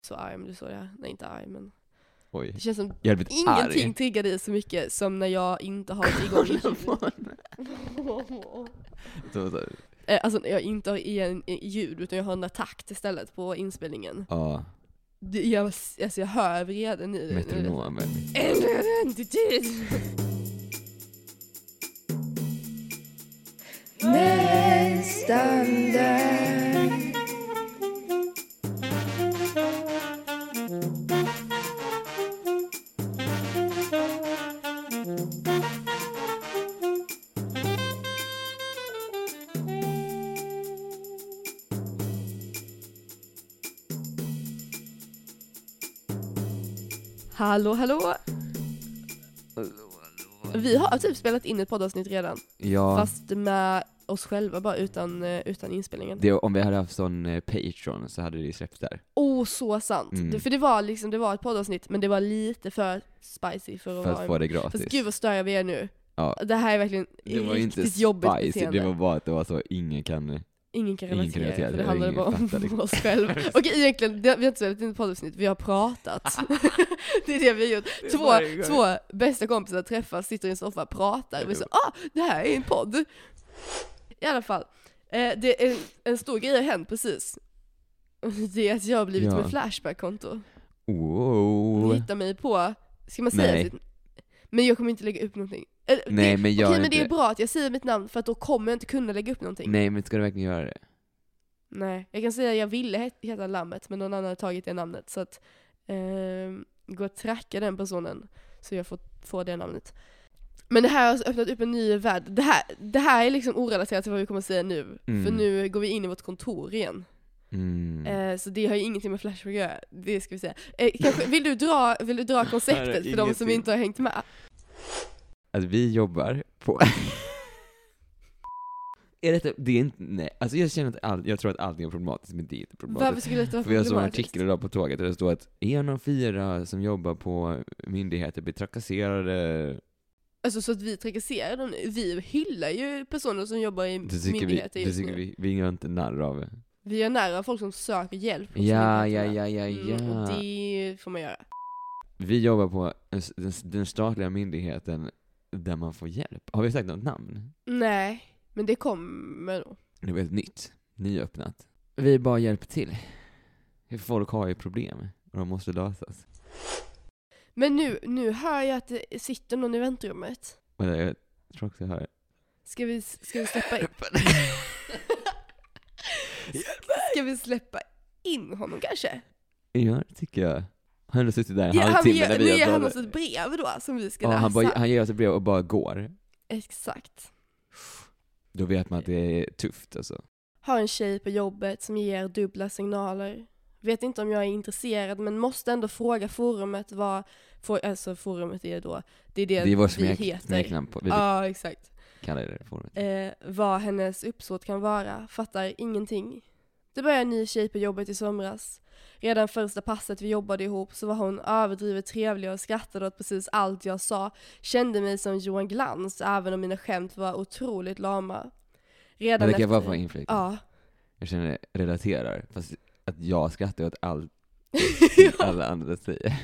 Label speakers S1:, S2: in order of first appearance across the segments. S1: så arg om du såg det här. Nej inte arg men.
S2: Oj.
S1: Det känns som
S2: Jag hade blivit
S1: ingenting
S2: arg.
S1: triggar dig så mycket som när jag inte har det igång i
S2: Kolla
S1: ljud.
S2: på honom. Så, så, här,
S1: Eh, alltså när jag inte har igen i ljud utan jag har en attack istället på inspelningen.
S2: ja,
S1: Det, jag, alltså jag hör redan nu.
S2: metronomen.
S1: Nästan där. Hallå, hallå! Vi har typ spelat in ett poddavsnitt redan.
S2: Ja,
S1: Fast med oss själva bara utan, eh, utan inspelningen.
S2: det, om vi hade haft sån eh, Patreon så hade det ju släppts där.
S1: Åh, oh, så sant!
S2: Mm.
S1: Det, för det var liksom, det var ett poddavsnitt men det var lite för spicy för att
S2: För
S1: vara
S2: att få det gratis.
S1: Fast gud vad störiga vi är nu.
S2: Ja.
S1: Det här är verkligen
S2: det var ju
S1: riktigt
S2: inte
S1: jobbigt
S2: spicy,
S1: beteende.
S2: det var bara att det var så, ingen kan...
S1: Ingen kan
S2: ingen
S1: relatera,
S2: relaterar,
S1: för det
S2: ingen
S1: handlade bara om
S2: fattar liksom.
S1: oss själva. Okej egentligen, det, vi har inte spelat in ett poddavsnitt, vi har pratat. det är det vi har gjort. Två, två bästa kompisar träffas, sitter i en soffa, pratar. Vi så, ah, det här är en podd. I alla fall, eh, det är en, en stor grej har hänt precis. Det är att jag har blivit
S2: Ja.
S1: med Flashback-konto. Ni
S2: Wow.
S1: hittar mig på, ska man säga
S2: Nej.
S1: sitt... Men jag kommer inte lägga upp någonting. Eller,
S2: Nej
S1: det,
S2: men jag
S1: okej
S2: är
S1: men det är
S2: inte...
S1: bra att jag säger mitt namn för att då kommer jag inte kunna lägga upp någonting. Nej.
S2: Nej men ska du verkligen göra det?
S1: Jag kan säga att jag ville het- heta Lammet men någon annan har tagit det namnet. Så att ehm, gå och tracka den personen så jag får, får det namnet. Men det här har alltså öppnat upp en ny värld. Det här, det här är liksom orelaterat till vad vi kommer säga nu.
S2: Mm.
S1: För nu går vi in i vårt kontor igen.
S2: Mm.
S1: Eh, så det har ju ingenting med Flashback att göra. Det ska vi säga. Eh, kanske, vill, du dra, vill du dra konceptet för de som
S2: ingenting.
S1: inte har hängt med?
S2: Att Alltså, vi jobbar på... är detta, det är inte, nej. Alltså jag känner att allt, jag tror att allting är problematiskt men det är inte problematiskt.
S1: Varför skulle detta vara
S2: För jag såg en
S1: problematiskt?
S2: artikel idag på tåget där det stod att en av fyra som jobbar på myndigheter blir trakasserade.
S1: Alltså så att vi trakasserar dem nu. Vi hyllar ju personer som jobbar i
S2: Det tycker vi,
S1: myndigheter
S2: det
S1: just
S2: tycker
S1: nu. Vi.
S2: vi, vi gör inte narr av.
S1: gör nära folk som söker hjälp. hos
S2: Ja, ja,
S1: myndigheterna.
S2: ja, ja,
S1: Mm, och
S2: ja.
S1: det får man göra.
S2: Vi jobbar på en, den, den statliga myndigheten där man får hjälp. Har vi sagt något namn?
S1: Nej, men det kommer nog.
S2: Det är väldigt nytt, nyöppnat. Vi bara hjälper till. Folk har ju problem och de måste lösas.
S1: Men nu, nu hör jag att det sitter någon i väntrummet.
S2: Och det, jag tror också jag hör
S1: Ska vi, ska vi släppa in? ska vi släppa in honom kanske?
S2: Ja, det tycker jag. Han har suttit där en
S1: Ja, han
S2: halvtimme
S1: ger,
S2: när
S1: nu
S2: vi
S1: ger
S2: har
S1: han
S2: pratat.
S1: oss ett brev då som vi ska
S2: Ja,
S1: läsa.
S2: han, bara, han ger oss ett brev och bara går.
S1: Exakt.
S2: Då vet man att det är tufft alltså.
S1: Har en tjej på jobbet som ger dubbla signaler. Vet inte om jag är intresserad men måste ändå fråga forumet vad... For, alltså forumet är då... Det är det,
S2: Det är vårt
S1: vi
S2: smek,
S1: heter.
S2: smeknamn på, vi
S1: Ja, exakt.
S2: kallar det formet.
S1: Eh, vad hennes uppsåt kan vara. Fattar ingenting. Det började en ny tjej på jobbet i somras. Redan första passet vi jobbade ihop så var hon överdrivet trevlig och skrattade åt precis allt jag sa. Kände mig som Johan Glans även om mina skämt var otroligt lama. Redan
S2: Men det kan jag bara
S1: efter-
S2: få inflika.
S1: Ja.
S2: Jag känner relaterar, fast att jag skrattar åt allt alla andra säger.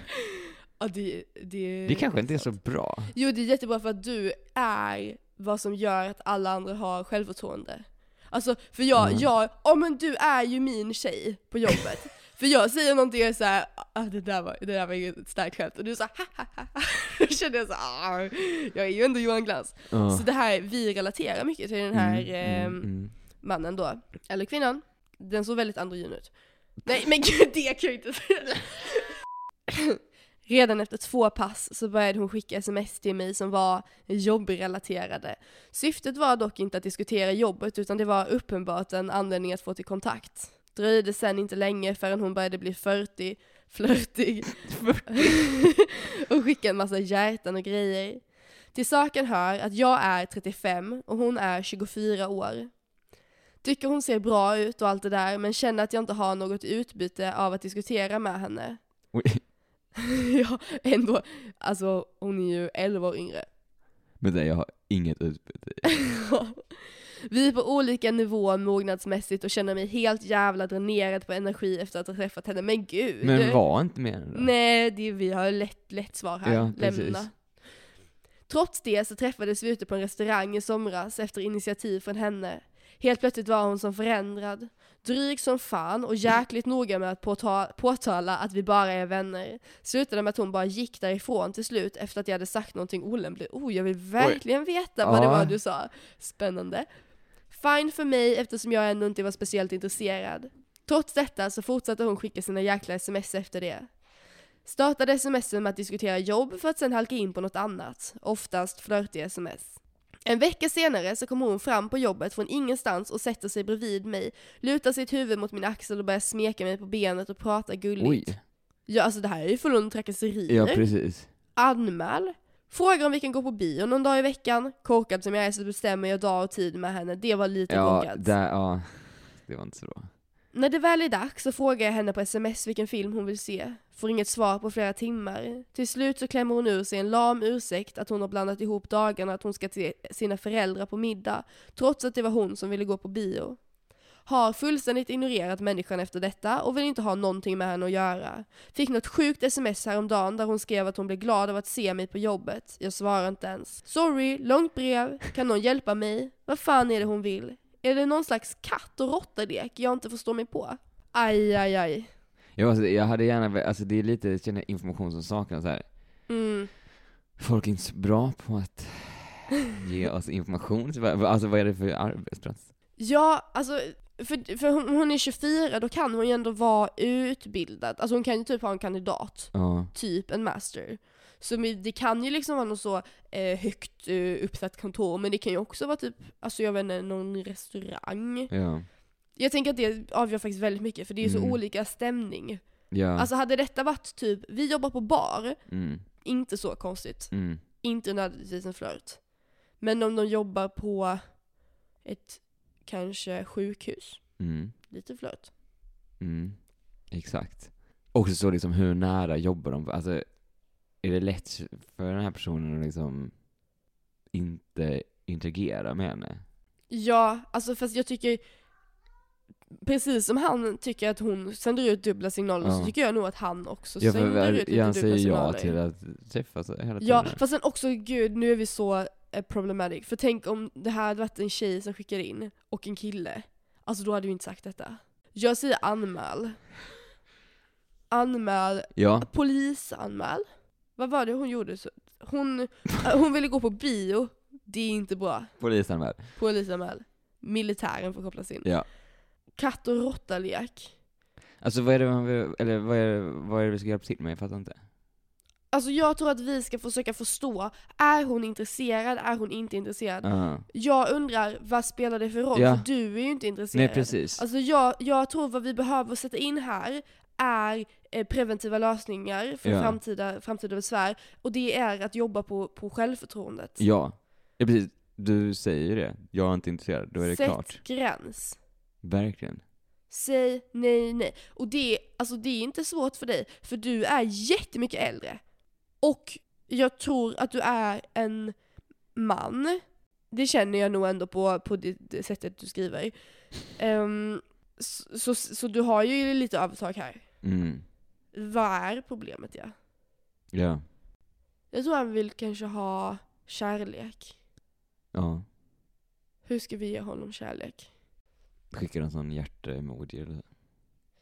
S1: Ja, det, det,
S2: Det kanske inte är så bra.
S1: Jo, det är jättebra för att du är vad som gör att alla andra har självförtroende. Alltså, för jag,
S2: Mm.
S1: jag, ja men du är ju min tjej på jobbet. för jag säger någonting och såhär, ah, det där var, det där var ju ett starkt skämt. Och du sa ha ha ha. Då kände jag såhär, jag är ju ändå Johan Glans.
S2: Ja.
S1: Så det här, vi relaterar mycket till den här
S2: Mm,
S1: ehm,
S2: mm, mm.
S1: mannen då, eller kvinnan. Den såg väldigt androgyn ut. Nej men gud, det kan jag inte säga. Redan efter två pass så började hon skicka sms till mig som var jobbrelaterade. Syftet var dock inte att diskutera jobbet utan det var uppenbart en anledning att få till kontakt. Dröjde sen inte länge förrän hon började bli 40, flörtig och skicka en massa hjärtan och grejer. Till saken hör att jag är 35 och hon är 24 år. Tycker hon ser bra ut och allt det där men känner att jag inte har något utbyte av att diskutera med henne.
S2: Oj.
S1: ja, ändå. Alltså hon är ju 11 år yngre.
S2: Men det, jag har inget utbyte.
S1: Vi är på olika nivåer mognadsmässigt och känner mig helt jävla dränerad på energi efter att ha träffat henne. Men gud!
S2: Men var inte med henne då.
S1: Nej, det, vi har lätt, lätt svar här.
S2: Ja, precis.
S1: Lämna. Trots det så träffades vi ute på en restaurang i somras efter initiativ från henne. Helt plötsligt var hon som förändrad. Dryg som fan och jäkligt noga med att påta- påtala att vi bara är vänner. Slutade med att hon bara gick därifrån till slut efter att jag hade sagt någonting olämpligt. Oh, jag vill verkligen veta vad det
S2: Ja.
S1: var du sa. Spännande. Fine för mig eftersom jag ändå inte var speciellt intresserad. Trots detta så fortsatte hon skicka sina jäkla sms efter det. Startade smsen med att diskutera jobb för att sen halka in på något annat, oftast flörtiga sms. En vecka senare så kommer hon fram på jobbet från ingenstans och sätter sig bredvid mig, lutar sitt huvud mot min axel och börjar smeka mig på benet och prata gulligt.
S2: Oj.
S1: Ja, alltså det här är ju full trakasserier.
S2: Ja, precis.
S1: Anmäl. Frågar om vi kan gå på bio någon dag i veckan. Korkad som jag är så bestämmer jag dag och tid med henne. Det var lite
S2: Ja,
S1: korkat.
S2: där, ja. Det var inte så bra.
S1: När det väl är dags så frågar jag henne på sms vilken film hon vill se. Får inget svar på flera timmar. Till slut så klämmer hon ur sig en lam ursäkt att hon har blandat ihop dagarna att hon ska till sina föräldrar på middag, trots att det var hon som ville gå på bio. Har fullständigt ignorerat människan efter detta och vill inte ha någonting med henne att göra. Fick något sjukt sms häromdagen där hon skrev att hon blev glad av att se mig på jobbet. Jag svarar inte ens. Sorry, långt brev. Kan någon hjälpa mig? Vad fan är det hon vill? Är det någon slags katt och råttalek jag inte förstår mig på? Aj, aj, aj.
S2: Jag, måste, jag hade gärna, ve- alltså det är lite, jag känner information som saknas här.
S1: Mm.
S2: Folk är inte så bra på att ge oss information. Så vad- Alltså vad är det för arbetsplats?
S1: Ja, alltså, för, för hon, hon är 24, då kan hon ju ändå vara utbildad. Alltså hon kan ju typ ha en kandidat,
S2: Ja,
S1: typ en master. Så men det kan ju liksom vara något så eh, högt eh, uppsatt kontor, men det kan ju också vara typ, alltså jag vet inte, någon restaurang.
S2: ja,
S1: Jag tänker att det avgör faktiskt väldigt mycket, för det är ju så
S2: Mm.
S1: olika stämning.
S2: ja.
S1: Alltså hade detta varit typ, vi jobbar på bar,
S2: mm,
S1: inte så konstigt.
S2: mm.
S1: inte nödvändigtvis en flört. Men om de jobbar på ett kanske sjukhus,
S2: Mm,
S1: lite flört.
S2: mm, exakt. Också så liksom hur nära jobbar de? Alltså är det lätt för den här personen att liksom inte interagera med henne?
S1: Ja, alltså fast jag tycker precis som han tycker att hon sänder ut dubbla signaler så
S2: Ja.
S1: tycker jag nog att han också
S2: Jag
S1: sänder ut lite dubbla
S2: han säger ja
S1: signaler.
S2: till att träffas hela tiden.
S1: Ja, fast sen också gud, nu är vi så eh, problematic. För tänk om det här hade varit en tjej som skickar in och en kille. Alltså då hade vi inte sagt detta. Jag säger anmäl. Anmäl
S2: ja.
S1: polisanmäl. Vad var det hon gjorde? Så- Hon, äh, hon ville gå på bio. Det är inte bra.
S2: polisanmäld.
S1: Polisanmäl. Militären får kopplas in.
S2: Ja.
S1: Katt och råttalek.
S2: Alltså vad är det man vill, eller vad är, det- vad är det vi ska hjälpa till med? Jag fattar inte.
S1: Alltså jag tror att vi ska försöka förstå, är hon intresserad, är hon inte intresserad?
S2: Ja.
S1: Jag undrar, vad spelar det för roll?
S2: Ja.
S1: För du är ju inte intresserad.
S2: Nej precis.
S1: Alltså jag, jag tror vad vi behöver sätta in här är eh, preventiva lösningar för
S2: Ja.
S1: framtida, framtida besvär. Och det är att jobba på, på självförtroendet.
S2: ja. ja, precis. Du säger ju det. Jag är inte intresserad. Då är det
S1: Sätt
S2: klart.
S1: gräns.
S2: Verkligen.
S1: Säg nej, nej. Och det, alltså det är inte svårt för dig, för du är jättemycket äldre. Och jag tror att du är en man. Det känner jag nog ändå på, på det, det sättet du skriver. Ehm, så, så, så du har ju lite övertag här.
S2: Mm.
S1: Vad är problemet ja?
S2: Ja.
S1: Jag tror han vill kanske ha kärlek.
S2: Ja.
S1: Hur ska vi ge honom kärlek?
S2: Skickar en sån hjärtemoji eller så.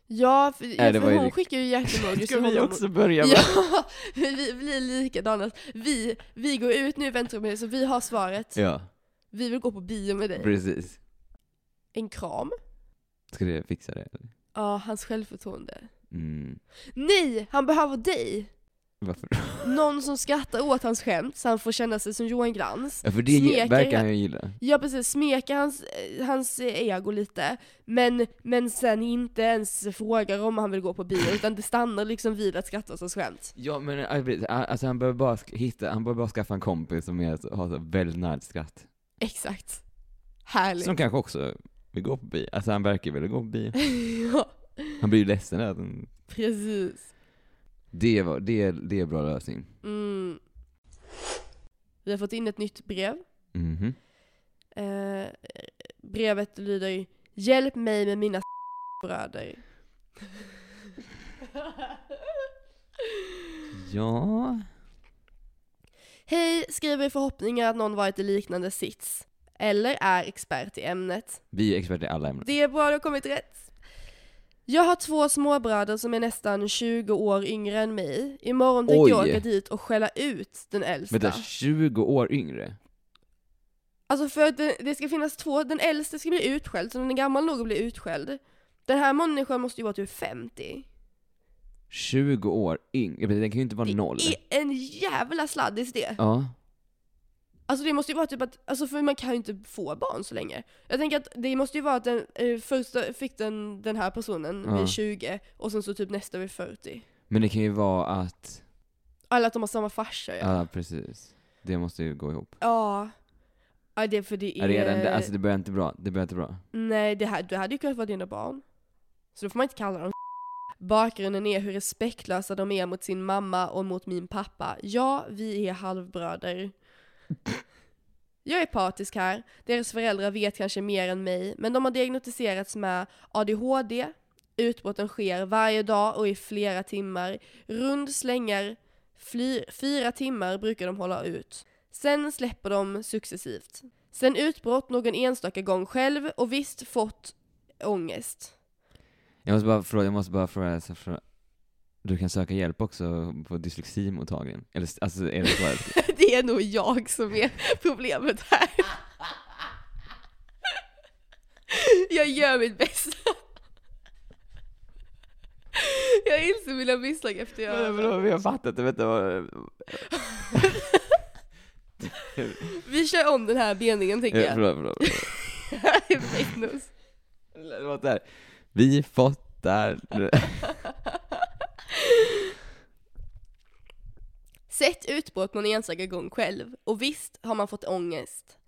S1: Ja, för, ja,
S2: det
S1: för
S2: var ju
S1: hon
S2: li-
S1: skickar ju hjärtemojis
S2: Ska vi
S1: honom.
S2: också börja med?
S1: Ja, men vi blir likadana. Vi, vi går ut nu väntar med dig, så vi har svaret.
S2: Ja,
S1: Vi vill gå på bio med dig.
S2: precis.
S1: En kram.
S2: Ska du fixa det? eller?
S1: Ja, hans självförtroende.
S2: Mm.
S1: Nej, han behöver dig!
S2: Varför då?
S1: Någon som skrattar åt hans skämt så han får känna sig som Johan Glans.
S2: Ja, för det ge-
S1: Smeker
S2: verkar han ju gilla.
S1: Ja precis, smeka hans, eh, hans eh, ego lite. Men, men sen inte ens frågar om han vill gå på bio utan det stannar liksom vid att skratta åt hans skämt.
S2: Ja men eh, precis. alltså han behöver bara sk- hitta, han behöver bara skaffa en kompis som är, så- har så väldigt nära skratt.
S1: Exakt. Härligt.
S2: Som kanske också vill gå på bio. Alltså han verkar vilja gå på bio.
S1: ja,
S2: Han blir ju ledsen där att han
S1: precis.
S2: Det, var, det, det är bra lösning.
S1: Mm. Vi har fått in ett nytt brev.
S2: Mhm.
S1: Eh, brevet lyder Hjälp mig med mina bröder.
S2: Ja.
S1: Hej, skriver i förhoppningar att någon varit i liknande sits. Eller är expert i ämnet.
S2: Vi är experter i alla ämnen.
S1: Det är bra, du har kommit rätt. Jag har två småbröder som är nästan 20 år yngre än mig. Imorgon tänker
S2: Oj.
S1: jag åka dit och skälla ut den äldsta.
S2: Vänta, 20 år yngre?
S1: Alltså för att det, det ska finnas två, den äldste ska bli utskälld, så den är gammal nog att bli utskälld. Den här människan måste ju vara typ 50.
S2: 20 år yngre? Den kan ju inte vara noll.
S1: Det är en jävla sladdis det.
S2: Ja.
S1: Alltså det måste ju vara typ att, alltså för man kan ju inte få barn så länge. Jag tänker att det måste ju vara att den eh, första fick den, den här personen
S2: Ja.
S1: vid 20 och sen så typ nästa vid 40.
S2: Men det kan ju vara att...
S1: Alla att de har samma farsa ja.
S2: Ja, precis. Det måste ju gå ihop.
S1: Ja. Ja det är för det är...
S2: Redan, det, alltså det börjar inte bra. Det börjar inte bra.
S1: Nej, det, här, det hade ju kunnat vara dina barn. Så då får man inte kalla dem Bakgrunden är hur respektlösa de är mot sin mamma och mot min pappa. Ja, vi är halvbröder. Jag är partisk här. Deras föräldrar vet kanske mer än mig, men de har diagnostiserats med ADHD. Utbrotten sker varje dag och i flera timmar. Rund slängar, fly, fyra timmar brukar de hålla ut. Sen släpper de successivt. Sen utbrott någon enstaka gång själv och visst fått ångest.
S2: Jag måste bara fråga, jag måste bara fråga, så för, du kan söka hjälp också på dysleximottagningen? Eller s- alltså, är det svaret?
S1: Det är nog jag som är problemet här. Jag gör mitt bästa. Jag inser mina misstag efter jag...
S2: vi har fattat det, vänta vad...
S1: Vi kör om den här meningen tänker
S2: Eh, Förlåt,
S1: jag.
S2: förlåt, förlåt.
S1: Det är Magnus.
S2: Det låter här. Vi fattar...
S1: Sett utbrott någon enstaka gång själv och visst har man fått ångest.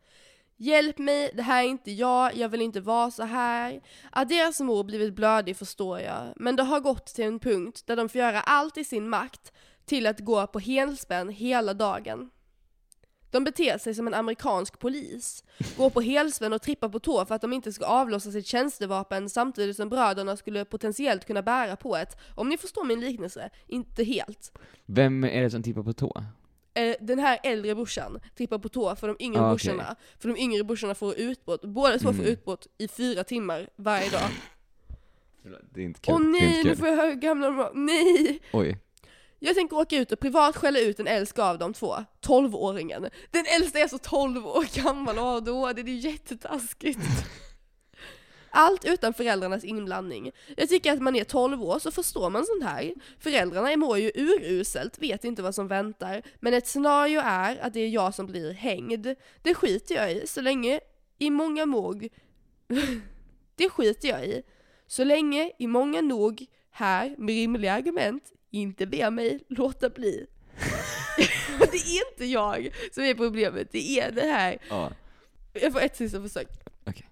S1: Hjälp mig, det här är inte jag, jag vill inte vara så här. Att deras mor blivit blödig förstår jag, men det har gått till en punkt där de får göra allt i sin makt till att gå på helspänn hela dagen. De beter sig som en amerikansk polis, går på helspänn och trippar på tå för att de inte ska avlossa sitt tjänstevapen samtidigt som bröderna skulle potentiellt kunna bära på ett, om ni förstår min liknelse, inte helt.
S2: Vem är det som tippar på tå?
S1: Eh, den här äldre brorsan trippar på tå för de yngre
S2: Ah, okej.
S1: brorsorna. För de yngre brorsorna får utbrott. Båda två får
S2: Mm.
S1: utbrott i fyra timmar varje dag.
S2: Det är inte
S1: Åh
S2: det är
S1: nej,
S2: inte
S1: nu
S2: kul.
S1: får jag höra hur gamla de var. Nej!
S2: Oj.
S1: Jag tänker åka ut och privat skälla ut den äldsta av de två. 12-åringen. Den äldsta är alltså 12 år gammal och har ADHD. Det är ju jättetaskigt. Allt utan föräldrarnas inblandning. Jag tycker att man är 12 år så förstår man sånt här. Föräldrarna mår ju uruselt, vet inte vad som väntar. Men ett scenario är att det är jag som blir hängd. Det skiter jag i så länge i många nog... det skiter jag i. Så länge i många nog här med rimliga argument inte ber mig låta bli. det är inte jag som är problemet, det är det här
S2: Ja.
S1: jag får ett sista försök.
S2: Okej.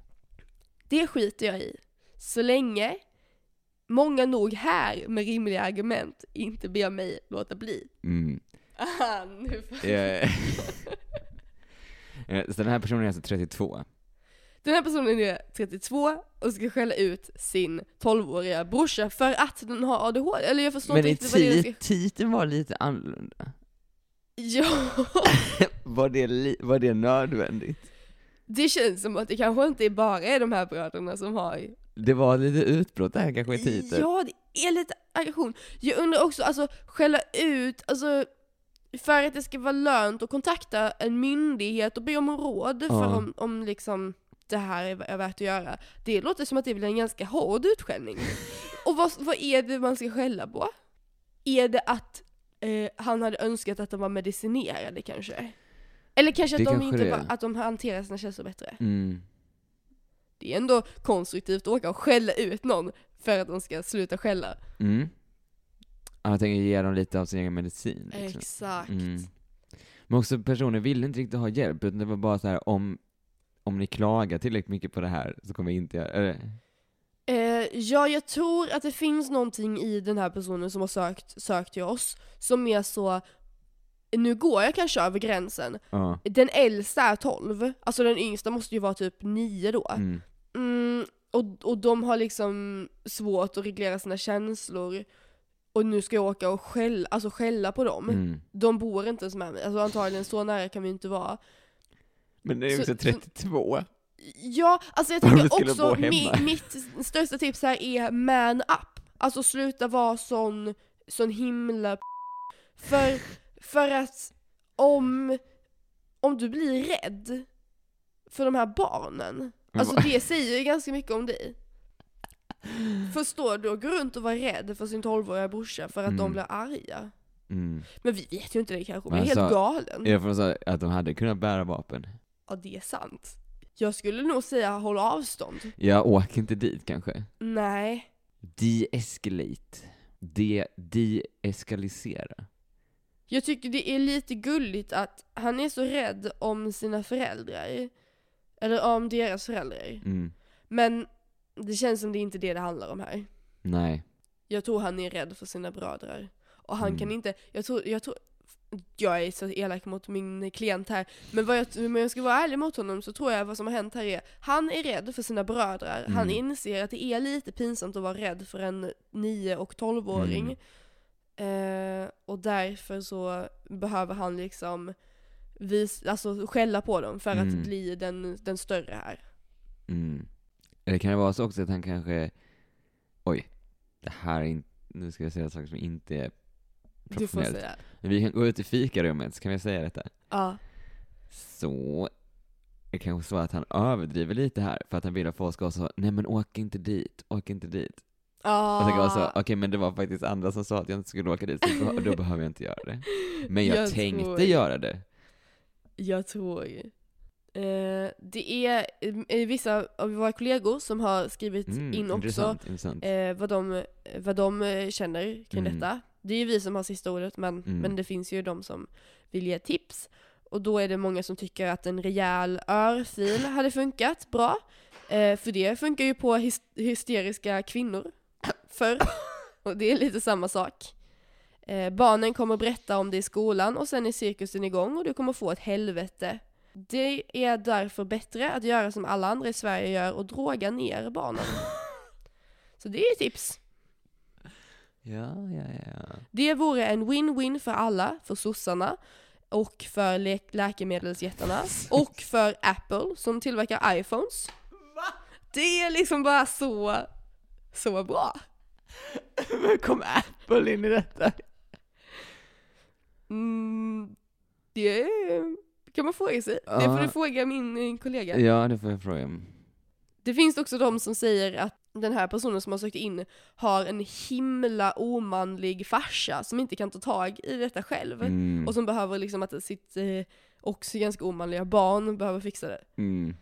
S1: Det skiter jag i. Så länge många nog här med rimliga argument inte ber mig låta bli.
S2: Mm.
S1: Aha, nu får-
S2: Eh, eh, Så den här personen är alltså 32?
S1: Den här personen är 32 och ska skälla ut sin 12-åriga brorsa för att den har ADHD. Eller jag förstår
S2: Men
S1: inte
S2: i
S1: riktigt vad det är. den
S2: ti-
S1: ska-
S2: titeln var lite annorlunda.
S1: Ja,
S2: Var det, li- var det nödvändigt?
S1: det känns som att det kanske inte bara är de här bröderna som har
S2: Det var lite utbrott där kanske i titeln.
S1: Ja, det är lite aggression. Jag undrar också, alltså skälla ut, alltså för att det ska vara lönt att kontakta en myndighet och be om råd för
S2: Ja.
S1: om, om liksom det här är är värt att göra. Det låter som att det blir en ganska hård utskällning. och vad, vad är det man ska skälla på? Är det att eh, han hade önskat att de var medicinerade kanske? Eller kanske
S2: Det
S1: att de,
S2: kanske
S1: inte
S2: det är.
S1: var, att de hanterar sina känslor bättre?
S2: Mm.
S1: Det är ändå konstruktivt att åka och skälla ut någon för att de ska sluta skälla.
S2: Mm. Han tänker ge dem lite av sin egen medicin. Liksom.
S1: Exakt.
S2: Mm. Men också personen ville inte riktigt ha hjälp, utan det var bara så här om, om ni klagar tillräckligt mycket på det här så kommer vi inte göra det.
S1: Eh, ja, jag tror att det finns någonting i den här personen som har sökt, sökt till oss som är så nu går jag kanske över gränsen.
S2: Ja.
S1: Den äldsta är 12, alltså den yngsta måste ju vara typ 9 då.
S2: Mm.
S1: Mm, och, och de har liksom svårt att reglera sina känslor. Och nu ska jag åka och skälla, alltså skälla på dem.
S2: Mm.
S1: De bor inte ens med mig, alltså antagligen så nära kan vi inte vara.
S2: Men det är också
S1: Så-
S2: 32.
S1: Ja, alltså jag
S2: Om
S1: tycker
S2: du skulle bo
S1: också
S2: hemma.
S1: mi, mitt största tips här är man up. Alltså sluta vara sån, sån himla p- för, för att om, om du blir rädd för de här barnen,
S2: Men
S1: alltså
S2: vad-
S1: det säger ju ganska mycket om dig. Förstår du? Att gå runt och vara rädd för sin 12-åriga brorsa för att
S2: Mm.
S1: de blir arga.
S2: Mm.
S1: Men vi vet ju inte det kanske, vi är
S2: Men
S1: helt
S2: alltså,
S1: galen.
S2: Jag får säga att de hade kunnat bära vapen.
S1: Ja, det är sant. Jag skulle nog säga håll avstånd.
S2: Jag åker inte dit kanske.
S1: Nej.
S2: De-escalate. De- De-eskalisera.
S1: Jag tycker det är lite gulligt att han är så rädd om sina föräldrar. Eller om deras föräldrar.
S2: Mm.
S1: Men det känns som det är inte det det handlar om här.
S2: Nej.
S1: Jag tror han är rädd för sina bröder. Och han
S2: Mm.
S1: kan inte, jag tror, jag tror, jag är så elak mot min klient här. Men vad jag, om jag ska vara ärlig mot honom så tror jag vad som har hänt här är, han är rädd för sina bröder. Han
S2: Mm.
S1: inser att det är lite pinsamt att vara rädd för en 9 och 12-åring.
S2: Mm.
S1: Eh, och därför så behöver han liksom vis, alltså skälla på dem för
S2: Mm.
S1: att bli den, den större här.
S2: Mm. Eller kan det vara så också att han kanske... Oj. Det här är inte... Nu ska jag säga saker som inte är
S1: Du får
S2: professionellt.
S1: säga.
S2: Men vi kan gå ut i fikarummet, så kan vi säga detta.
S1: Ja.
S2: Så... Det kanske så att han överdriver lite här, för att han vill att folk ska vara så, nej men åk inte dit, åk inte dit.
S1: Ah.
S2: Och så kan jag vara så, okej men det var faktiskt andra som sa att jag inte skulle åka dit, så då- då behöver jag inte göra det. Men jag,
S1: Jag
S2: tänkte
S1: tror-
S2: göra det.
S1: Jag tror. Eh, det är eh, vissa av våra kollegor som har skrivit
S2: Mm,
S1: in också
S2: intressant, intressant.
S1: eh, vad, de, vad de eh, känner kring
S2: Mm.
S1: detta. Det är ju vi som har sista ordet men,
S2: Mm.
S1: men det finns ju de som vill ge tips. Och då är det många som tycker att en rejäl örfil hade funkat bra. Eh, för det funkar ju på hys- hysteriska kvinnor förr. Och det är lite samma sak. Eh, barnen kommer berätta om det i skolan och sen är cirkusen igång och du kommer få ett helvete. Det är därför bättre att göra som alla andra i Sverige gör och droga ner barnen. Så det är tips.
S2: Ja, ja, ja.
S1: Det vore en win-win för alla, för sossarna och för lä- läkemedelsjättarna och för Apple som tillverkar iPhones. Det är liksom bara så, så bra.
S2: Hur kom Apple in i detta?
S1: Mm, det är- kan man fråga sig. Det får
S2: Ja.
S1: du fråga min eh, kollega.
S2: Ja, det får jag fråga.
S1: Det finns också de som säger att den här personen som har sökt in har en himla omanlig farsa som inte kan ta tag i detta själv.
S2: Mm.
S1: Och som behöver liksom att sitt eh, också ganska omanliga barn behöver fixa det.
S2: Mm.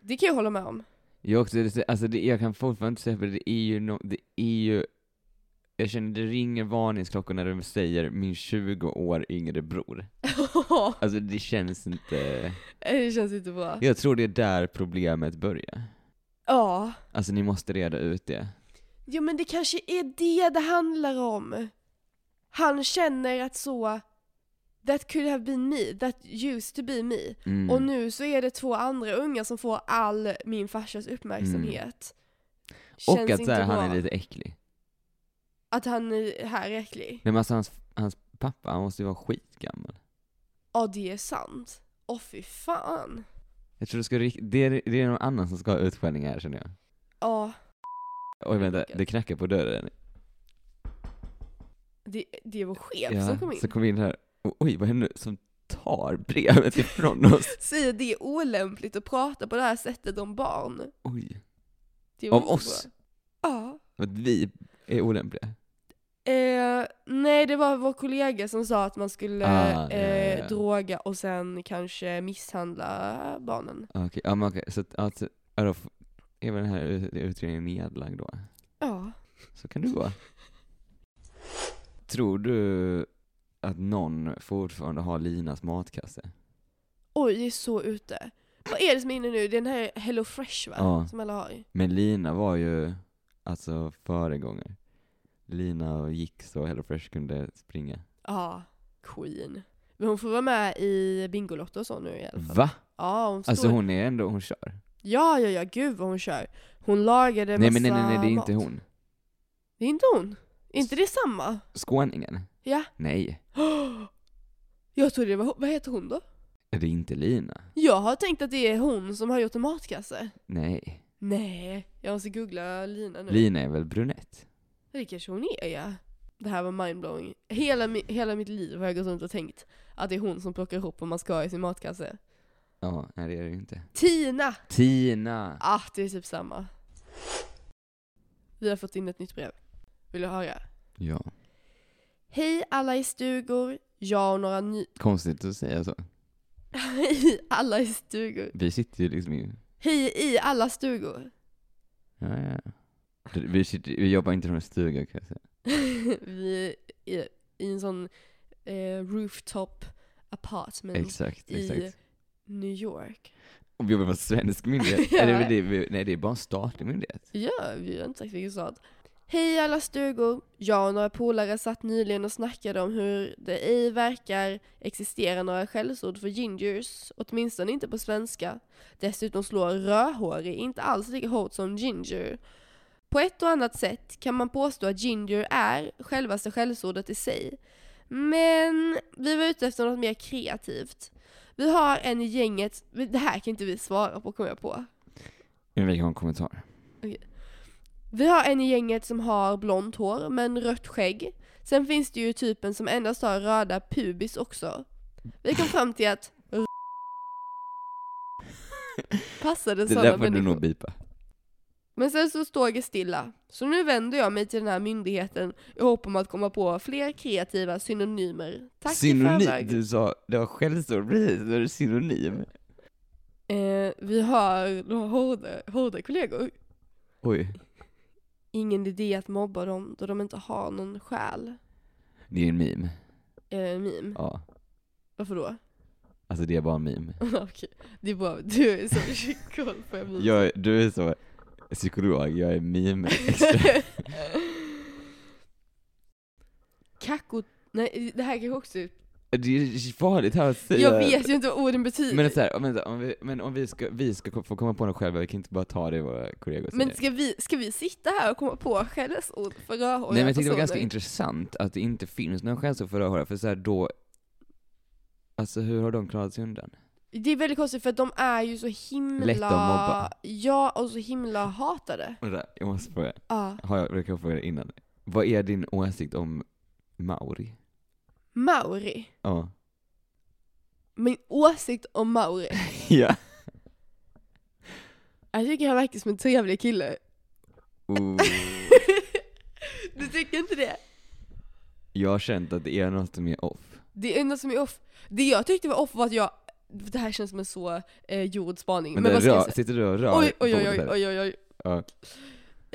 S1: Det kan jag hålla med om.
S2: Jag också, det- alltså det, jag kan fortfarande inte säga för det är ju, no, det är ju jag känner det ringer varningsklockor när de säger min 20 år yngre bror. Alltså det känns inte...
S1: det känns inte bra.
S2: Jag tror det är där problemet börjar.
S1: Ja.
S2: Alltså ni måste reda ut det.
S1: Ja men det kanske är det det handlar om. Han känner att så, that could have been me, that used to be me.
S2: Mm.
S1: Och nu så är det två andra unga som får all min farsas uppmärksamhet.
S2: Mm. Och
S1: Känns
S2: att så
S1: inte
S2: här,
S1: bra.
S2: han är lite äcklig.
S1: Att han är här är äcklig.
S2: Nej men alltså hans, hans pappa, han måste ju vara skitgammal.
S1: Ja det är sant. Åh fy fan.
S2: Jag tror du ska rikt- det, är, det är någon annan som ska ha utskällning här känner jag.
S1: Ja,
S2: Oj vänta, det knackar på dörren.
S1: det, det är vår chef
S2: Ja,
S1: som kom in.
S2: Så kom vi in här, och, oj vad hände nu? Som tar brevet ifrån oss.
S1: Säger det är olämpligt att prata på det här sättet om barn.
S2: Oj.
S1: Det
S2: Av
S1: var inte
S2: oss?
S1: bra. Ja.
S2: Att vi är olämpliga.
S1: Eh, nej, det var vår kollega som sa att man skulle
S2: Ah, ja,
S1: eh,
S2: ja, ja.
S1: droga och sen kanske misshandla barnen.
S2: Okej, ja men okej, så att, alltså, ja, då f- är väl den här ut- utredningen nedlagd då?
S1: Ja.
S2: Så kan du gå. Tror du att någon fortfarande har Linas matkasse?
S1: Oj, det är så ute. Vad är det som är inne nu? Det är den här Hello Fresh va?
S2: Ja.
S1: Som alla har.
S2: Men Lina var ju, alltså föregångare. Lina gick så HelloFresh kunde springa.
S1: Ja, queen. Men hon får vara med i Bingolotto och så nu i alla fall.
S2: Va?
S1: Ja, hon står...
S2: Alltså hon är ändå, hon kör.
S1: Ja, ja, ja, gud vad hon kör. Hon lagade
S2: Nej
S1: massa
S2: men nej, nej nej, det är
S1: mat.
S2: inte hon.
S1: Det är inte hon. Är inte det samma?
S2: Skåningen?
S1: Ja.
S2: Nej,
S1: Jag trodde det var hon. Vad heter hon då?
S2: är det inte Lina?
S1: Jag har tänkt att det är hon som har gjort en matkasse.
S2: Nej.
S1: Nej, jag måste googla Lina nu.
S2: Lina är väl brunett?
S1: Det kanske hon är ja. Det här var mindblowing. Hela, mi- hela mitt liv har jag gått runt och tänkt att det är hon som plockar ihop vad man ska ha i sin matkasse.
S2: Ja, nej det är det ju inte.
S1: Tina!
S2: Tina!
S1: Ah, det är typ samma. Vi har fått in ett nytt brev. Vill du höra?
S2: Ja.
S1: Hej alla i stugor. Jag och några ny...
S2: Konstigt att säga så.
S1: Hej alla i stugor.
S2: Vi sitter ju liksom i...
S1: Hej i alla stugor.
S2: Ja, ja. Vi, sitter, vi jobbar inte från en stuga kan jag säga.
S1: Vi är i en sån eh, rooftop apartment
S2: Exakt,
S1: Mm. i-
S2: exakt.
S1: New York.
S2: Om vi jobbar på en svensk myndighet?
S1: Ja.
S2: Eller det, vi- nej, det är bara en statlig myndighet.
S1: Ja, vi har inte sagt vilken stad. Hej alla stugor! Jag och några polare satt nyligen och snackade om hur det ej verkar existera några skällsord för gingers, åtminstone inte på svenska. Dessutom slår rödhårig inte alls lika hårt som ginger. På ett och annat sätt kan man påstå att ginger är självaste skällsordet i sig. Men vi var ute efter något mer kreativt. Vi har en i gänget, det här kan inte vi svara på kommer jag på.
S2: Men vi kan ha en kommentar.
S1: Vi har en i gänget som har blont hår men rött skägg. Sen finns det ju typen som endast har röda pubis också. Vi kom fram till att passade
S2: Det
S1: sådana
S2: där får du
S1: människor.
S2: nog bipa.
S1: Men sen så står det stilla. Så nu vänder jag mig till den här myndigheten i hopp om att komma på fler kreativa synonymer. Tack i
S2: Synonym,
S1: förväg.
S2: du sa, det var skällsord precis, det är det synonym.
S1: Eh, vi har några hårda, hårda kollegor.
S2: Oj.
S1: Ingen idé att mobba dem då de inte har någon själ.
S2: Det är en meme.
S1: Är det en meme?
S2: Ja.
S1: Varför då?
S2: Alltså det är bara en meme.
S1: Okej, det är bra. Du är så koll på ämnet.
S2: Jag, du är så psykolog, jag är meme
S1: Kacko... Nej, det här kanske också är...
S2: Det är farligt här att säga.
S1: Jag vet ju inte vad orden betyder.
S2: Men
S1: Men,
S2: så här, men, så här, om, vi, men om vi ska, vi ska ko- få komma på något själva, vi kan inte bara ta det våra kollegor säger.
S1: ska, vi, ska vi sitta här och komma på skällsord för rödhåriga
S2: Nej men jag tyckte det var
S1: personer?
S2: ganska intressant att det inte finns någon skällsord för rödhåriga, för så här då, alltså hur har de klarat sig undan?
S1: Det är väldigt konstigt för att de är ju så himla...
S2: Lätta att mobba.
S1: Ja, och så himla hatade.
S2: Vänta, Jag måste fråga,
S1: Ja.
S2: har jag råkat fråga det innan? Vad är din åsikt om Mauri?
S1: Mauri.
S2: Ja.
S1: Min åsikt om Mauri.
S2: Ja.
S1: Jag tycker han verkar som en trevlig kille.
S2: Oh.
S1: du tycker inte det?
S2: Jag har känt att det är något som är off.
S1: Det enda som är off, det jag tyckte var off var att jag, det här känns som en så eh, gjord spaning.
S2: Men,
S1: Men vad
S2: det
S1: ska jag
S2: rör,
S1: säga?
S2: sitter du och rör
S1: Oj, oj, oj,
S2: bordet
S1: oj,
S2: här?
S1: oj, oj, oj.
S2: Ja.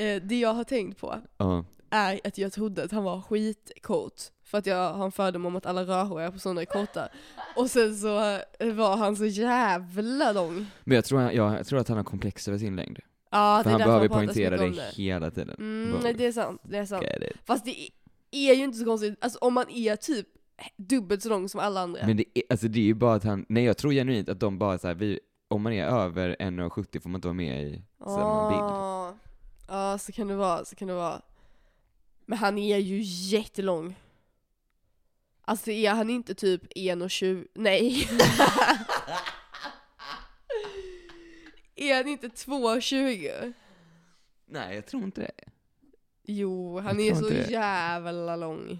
S1: Eh, det jag har tänkt på
S2: Ja.
S1: är att jag trodde att han var skitkort. För att jag har en fördom om att alla rödhåriga personer är korta. Och sen så eh, var han så jävla lång.
S2: Men jag tror, han, jag, jag tror att han har komplex över sin längd.
S1: Ja, det
S2: För
S1: är
S2: han
S1: därför
S2: behöver
S1: pratar så
S2: poängtera
S1: mycket
S2: det,
S1: om det.
S2: hela tiden.
S1: Mm,
S2: Bara,
S1: nej, det är sant, det är sant.
S2: get it.
S1: Fast det är ju inte så konstigt, alltså om man är typ dubbelt så lång som alla andra.
S2: Men det är, alltså det är ju bara att han, nej jag tror genuint att de bara så här, vi, om man är över 1,70 får man inte vara med i samma bild.
S1: Ja, ja så kan det vara, så kan det vara. Men han är ju jättelång. Alltså är han inte typ 1,20? Nej. är han inte 2,20?
S2: Nej jag tror inte det.
S1: Jo, han
S2: Jag
S1: är
S2: tror
S1: så
S2: inte det.
S1: jävla lång.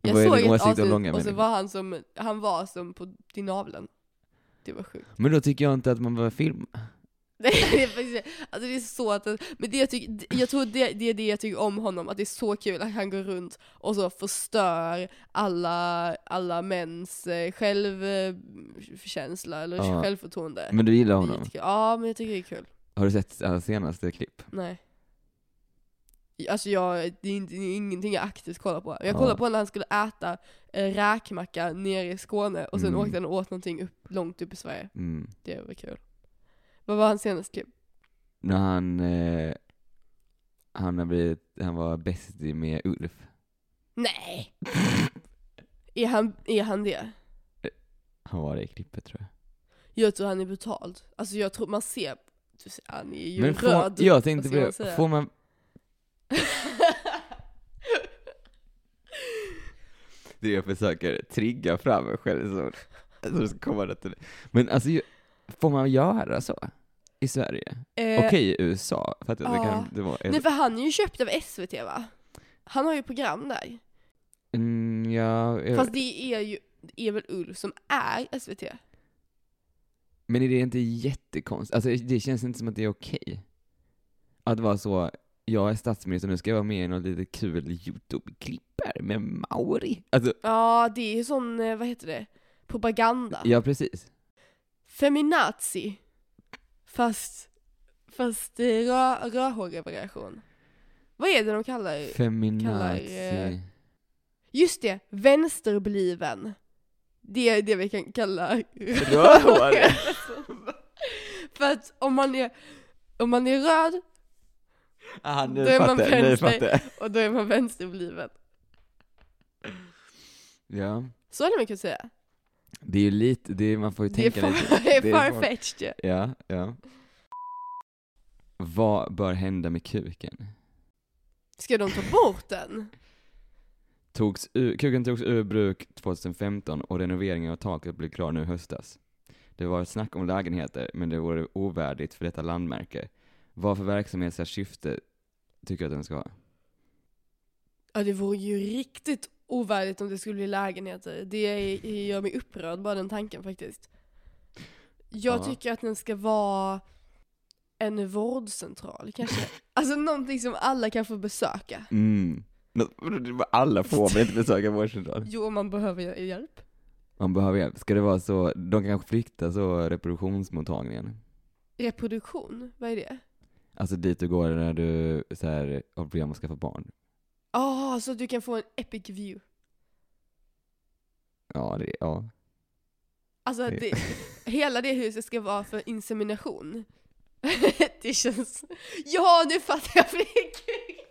S1: Jag
S2: Vad är
S1: såg
S2: din
S1: ett
S2: åsikt om
S1: avsnitt
S2: långa
S1: och så
S2: människor?
S1: var han som, han var som på din naveln. Det var sjukt.
S2: Men då tycker jag inte att man behöver filma.
S1: Nej, det är faktiskt, alltså det är så att, men det jag, tycker, jag tror det, det är det jag tycker om honom, att det är så kul att han går runt och så förstör alla, alla mäns eh, självkänsla eller
S2: Ja.
S1: självförtroende.
S2: Men du gillar
S1: Det är
S2: honom?
S1: jättekul. Ja, men jag tycker det är kul.
S2: Har du sett hans senaste klipp?
S1: Nej. Alltså jag, det är, inte, det är ingenting jag aktivt kollar på. Jag
S2: Ja.
S1: kollade på när han skulle äta eh, räkmacka nere i Skåne och sen
S2: Mm.
S1: åkte han och åt någonting upp, långt upp i Sverige.
S2: Mm.
S1: Det var kul. Vad var hans senaste klipp?
S2: När han, eh, han har blivit, han var bästig med Ulf.
S1: Nej! Är han, är han det?
S2: han var i klippet tror jag.
S1: Jag tror han är brutal. Alltså jag tror man ser, du ser han är ju
S2: Men får,
S1: röd.
S2: jag tänkte
S1: vad ska man
S2: på det,
S1: säga?
S2: får man, det jag försöker trigga fram mig själv så, så det ska komma rätt till det. Men alltså, ju- får man göra så? I Sverige?
S1: Eh,
S2: Okej i USA, för att det
S1: ja.
S2: kan det vara ett,
S1: Nej för han är ju köpt av SVT va? Han har ju program där.
S2: mm, ja, jag-
S1: Fast det är ju det är väl Ulf som är SVT?
S2: Men är det inte jättekonstigt? Alltså det känns inte som att det är okej. Att vara så, jag är statsminister nu ska jag vara med i något lite kul YouTube-klipp här med Mauri. Alltså,
S1: Ja, det är ju sån, eh, vad heter det? Propaganda.
S2: ja
S1: Eh,
S2: precis.
S1: Feminazi. Fast, fast eh, rö, rödhårig variation. Vad är det de kallar? Kallar, eh,
S2: Feminazi.
S1: Just det, vänsterbliven. Det är det vi kan kalla
S2: Rödhårig.
S1: För att om man är, om man är röd
S2: Ah, nu
S1: då är man
S2: fattar jag, nu
S1: vänster.
S2: fattar jag.
S1: och då är man vänsterbliven.
S2: Ja,
S1: Så hade man kunnat säga.
S2: det är ju lite, det är, man får ju
S1: Det är,
S2: tänka lite.
S1: far, det är
S2: Det är far-
S1: farfetched ju.
S2: Ja, ja. Vad bör hända med kuken?
S1: Ska de ta bort den?
S2: Togs ur, kuken togs ur bruk 2015 och renoveringen av taket blev klar nu i höstas. Det var ett snack om lägenheter, men det vore ovärdigt för detta landmärke. Vad för verksamhetsliga syfte tycker jag att den ska ha?
S1: Ja det vore ju riktigt ovärdigt om det skulle bli lägenheter. Det är- gör mig upprörd bara den tanken faktiskt. Jag
S2: Ja.
S1: tycker att den ska vara en vårdcentral kanske. Alltså någonting som alla kan få besöka.
S2: Mm. Alla får väl inte besöka vårdcentralen?
S1: Jo, om man behöver ju hjälp.
S2: Man behöver hjälp. Ska det vara så, de kanske flyttar så reproduktionsmottagningen?
S1: Reproduktion, vad är det?
S2: Alltså dit du går när du så här, har problem att skaffa barn.
S1: Ah, så du kan få en epic view.
S2: Ja, det, ja.
S1: Alltså
S2: Det-
S1: det, hela det huset ska vara för insemination. det känns... Ja, nu fattar jag! för det är kul.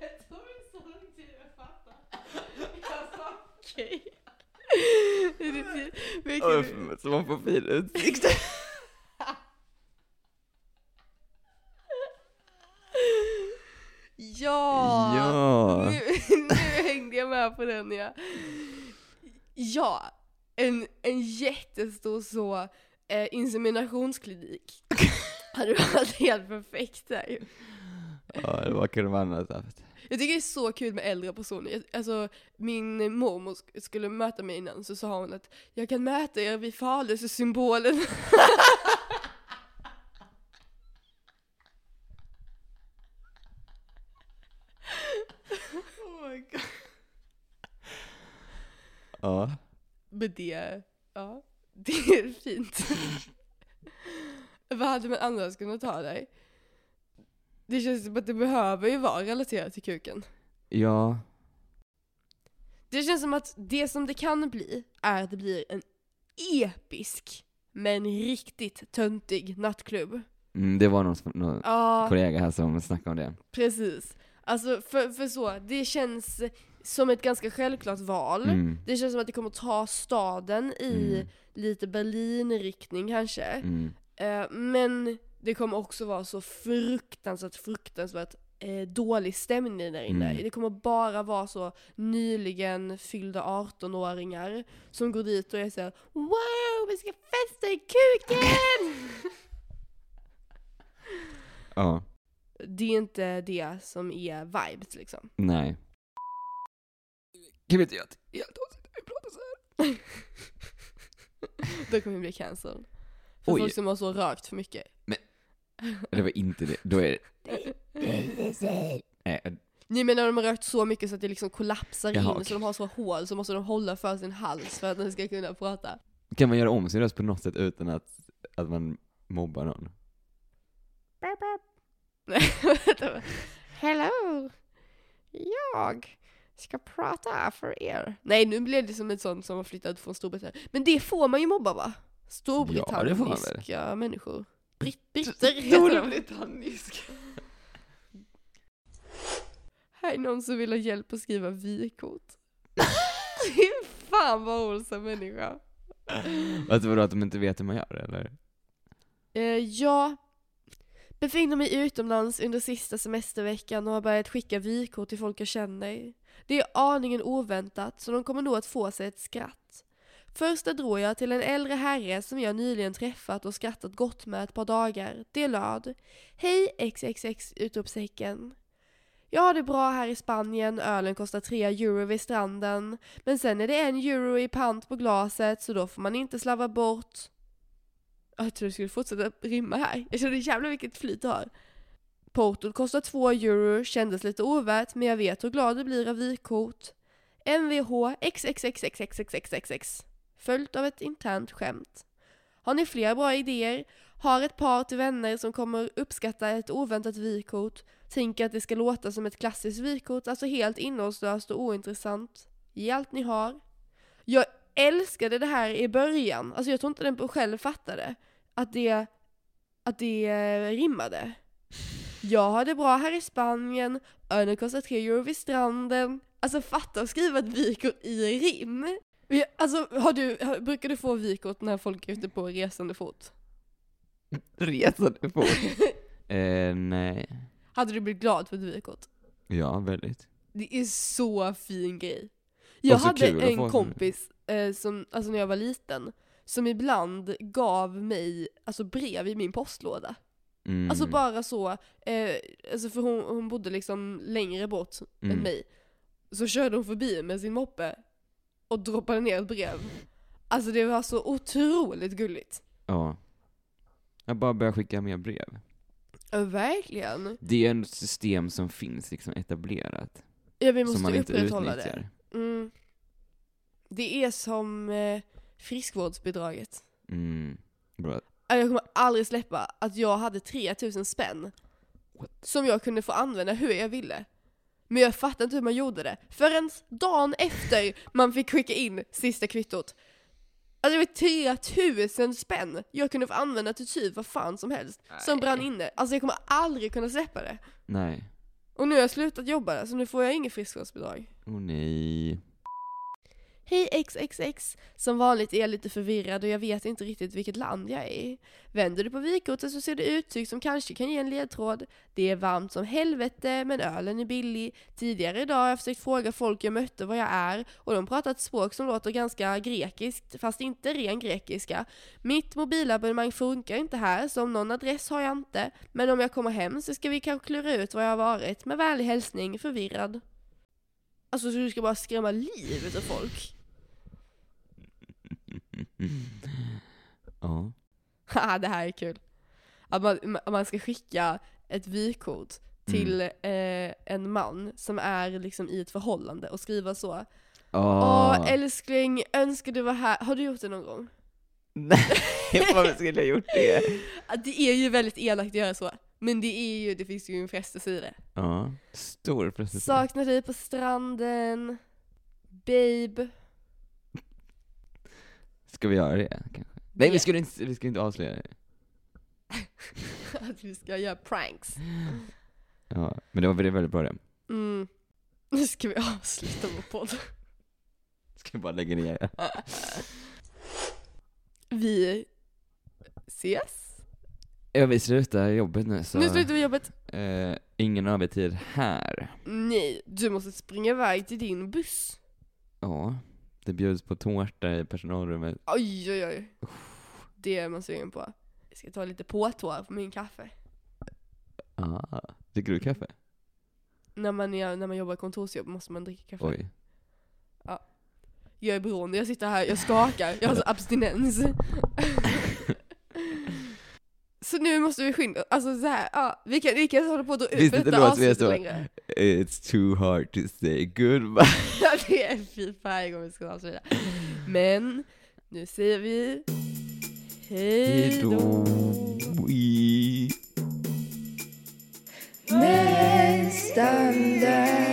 S1: Det tog så lång tid att fatta. Jag sa okej. Det är det- det är kul.
S2: Så man får fin utsikt.
S1: Ja!
S2: Ja!
S1: Nu, nu hängde jag med på den ja. Ja, en, en jättestor så eh, inseminationsklinik. Hade varit helt perfekt där ju.
S2: Ja, det var kunde man annars haft.
S1: Jag tycker det är så kul med äldre personer. Jag, alltså, min mormor sk- skulle möta mig innan så sa hon att jag kan möta er vid falusesymbolen. oh my god.
S2: Ja.
S1: Men det, ja, det är fint. Vad hade man annars kunnat ta dig? Det känns som att det behöver ju vara relaterat till kuken.
S2: Ja.
S1: Det känns som att det som det kan bli är att det blir en episk men riktigt töntig nattklubb.
S2: Mm, det var någon, som- någon
S1: Ja,
S2: kollega här som snackade om det.
S1: precis. Alltså för, för så, det känns som ett ganska självklart val.
S2: Mm.
S1: Det känns som att det kommer ta staden i
S2: Mm.
S1: lite Berlin-riktning kanske.
S2: Mm.
S1: Eh, men det kommer också vara så fruktansvärt, fruktansvärt eh, dålig stämning där inne.
S2: Mm.
S1: Det kommer bara vara så nyligen fyllda 18-åringar som går dit och är så här, Wow, vi ska festa i kuken!
S2: Ja.
S1: det är inte det som är vibes liksom.
S2: Nej. Gud vet jag att helt avsiktligt vi pratar så här.
S1: Då kommer vi bli cancelled. För
S2: Oj.
S1: folk som har så rökt för mycket.
S2: Det var inte det. Då är Eh, det... Nej,
S1: Ni menar de har rökt så mycket så att det liksom kollapsar
S2: Jaha,
S1: in,
S2: okej.
S1: så de har så hål så måste de hålla för sin hals för att de ska kunna prata.
S2: Kan man göra om sin röst på något sätt utan att, att man mobbar någon?
S1: Nej, vänta. Hello! Jag ska prata för er. Nej, nu blev det som ett sånt som har flyttat från Storbritannien. Men det får man ju mobba va? Storbritanniska människor. Britt, britter heter de.
S2: Storbritannisk.
S1: Här är någon som vill ha hjälp att skriva vykort. Fy fan vad olsam människa.
S2: Alltså vadå att de inte vet hur man gör eller?
S1: Eh, jag befinner mig utomlands under sista semesterveckan och har börjat skicka vykort till folk jag känner. Det är aningen oväntat, så de kommer nog att få sig ett skratt. Första drog jag till en äldre herre som jag nyligen träffat och skrattat gott med ett par dagar. Det löd Hej XXX utropstecken. Jag har det bra här i Spanien, ölen kostar 3 euro vid stranden. Men sen är det en euro i pant på glaset så då får man inte slarva bort. Ja, Jag tror det skulle fortsätta rimma här. Jag känner jävlar vilket flyt du har. Portot kostar 2 euro, kändes lite ovärt men jag vet hur glad du blir av vykort. Mvh XXXXXXXXX Följt av ett internt skämt. Har ni fler bra idéer? Har ett par till vänner som kommer uppskatta ett oväntat vykort. Tänker att det ska låta som ett klassiskt vykort, alltså helt innehållslöst och ointressant. Ge allt ni har. Jag älskade det här i början. Alltså jag tror inte den själv fattade att det, att det eh, rimmade. Jag har det bra här i Spanien, ölen kostar 3 euro vid stranden. Alltså fatta att skriva ett vykort i rim. Vi- Alltså har du, har, brukar du få vykort när folk är ute på resande fot?
S2: Resande fot? eh, nej.
S1: Hade du blivit glad för ett vykort?
S2: Ja, väldigt.
S1: Det är så fin grej. Jag
S2: Och så
S1: hade
S2: Alltså, kul att få
S1: en
S2: en-
S1: kompis, eh, som, alltså när jag var liten, som ibland gav mig alltså, brev i min postlåda.
S2: Mm.
S1: Alltså bara så, eh, alltså för hon, hon bodde liksom längre bort än
S2: Mm.
S1: mig. Så körde hon förbi med sin moppe och droppade ner ett brev. Alltså det var så otroligt gulligt.
S2: Ja. Jag bara börjar skicka mer brev.
S1: Ja, verkligen.
S2: Det är ju ändå ett system som finns liksom etablerat.
S1: Ja, vi måste
S2: som man inte
S1: upprätthålla
S2: utnyttjar.
S1: det. Mm. Det är som eh, friskvårdsbidraget.
S2: Mm. Bra.
S1: Ja, Alltså, Jag kommer aldrig släppa att jag hade 3000 spänn. Som jag kunde få använda hur jag ville. Men jag fattar inte hur man gjorde det. Förrän dagen efter man fick skicka in sista kvittot. Alltså det var 3000 spänn jag kunde få använda till typ vad fan som helst. Som
S2: Nej.
S1: brann inne. Alltså jag kommer aldrig kunna släppa det.
S2: Nej.
S1: Och nu har jag slutat jobba där så nu får jag inget friskvårdsbidrag.
S2: Åh nej.
S1: Hej XXX! Som vanligt är jag lite förvirrad och jag vet inte riktigt vilket land jag är i. Vänder du på vykortet så ser det uttryck som kanske kan ge en ledtråd. Det är varmt som helvete men ölen är billig. Tidigare idag har jag försökt fråga folk jag mötte vad jag är och de pratar ett språk som låter ganska grekiskt fast inte ren grekiska. Mitt mobilabonnemang funkar inte här så om någon adress har jag inte. Men om jag kommer hem så ska vi kanske klura ut var jag har varit. Med vänlig hälsning förvirrad. Alltså så du ska bara skrämma livet ur folk.
S2: Ja.
S1: Haha, Ah, det här är kul. Att man, ma- man ska skicka ett vykort till eh, en man som är liksom i ett förhållande och skriva så.
S2: Ah.
S1: Åh
S2: Åh.
S1: älskling, önskar du var här. Har du gjort det någon gång?
S2: Nej, varför skulle jag gjort det?
S1: Ah, Det är ju väldigt elakt att göra så. Men det är ju, det finns ju en frestelse i det.
S2: Ja. Stor prestation.
S1: Saknar dig på stranden. Babe.
S2: Ska vi göra det kanske? Nej,
S1: Ja.
S2: vi skulle inte, vi skulle inte avslöja det.
S1: Att vi ska göra pranks.
S2: Ja. Men det var väl väldigt bra det.
S1: Mm. Nu ska vi avsluta vår podd.
S2: Ska vi bara lägga ner det?
S1: Vi ses.
S2: Ja, vi slutar jobbet nu så...
S1: Nu slutar vi jobbet.
S2: Eh, ingen övertid här.
S1: Nej, du måste springa iväg till din buss.
S2: Ja. Det bjuds på tårta i personalrummet.
S1: Oj, oj, oj. Det är man sugen på. Jag ska ta lite påtår på min kaffe.
S2: Ah. Dricker du kaffe?
S1: När man, är, när man jobbar kontorsjobb måste man dricka kaffe.
S2: Oj.
S1: Jag är beroende, jag sitter här, jag skakar, jag har så abstinens. så nu måste vi skynda Alltså så här, ja, vi kan, vi kan hålla på att dra ut
S2: Visst
S1: för
S2: inte
S1: detta
S2: låter vi
S1: avsnittet
S2: så?
S1: längre.
S2: It's too hard to say goodbye.
S1: Ja, det är fy varje gång vi ska avsluta. Men nu säger vi hej då.
S2: We...
S1: Nästan där.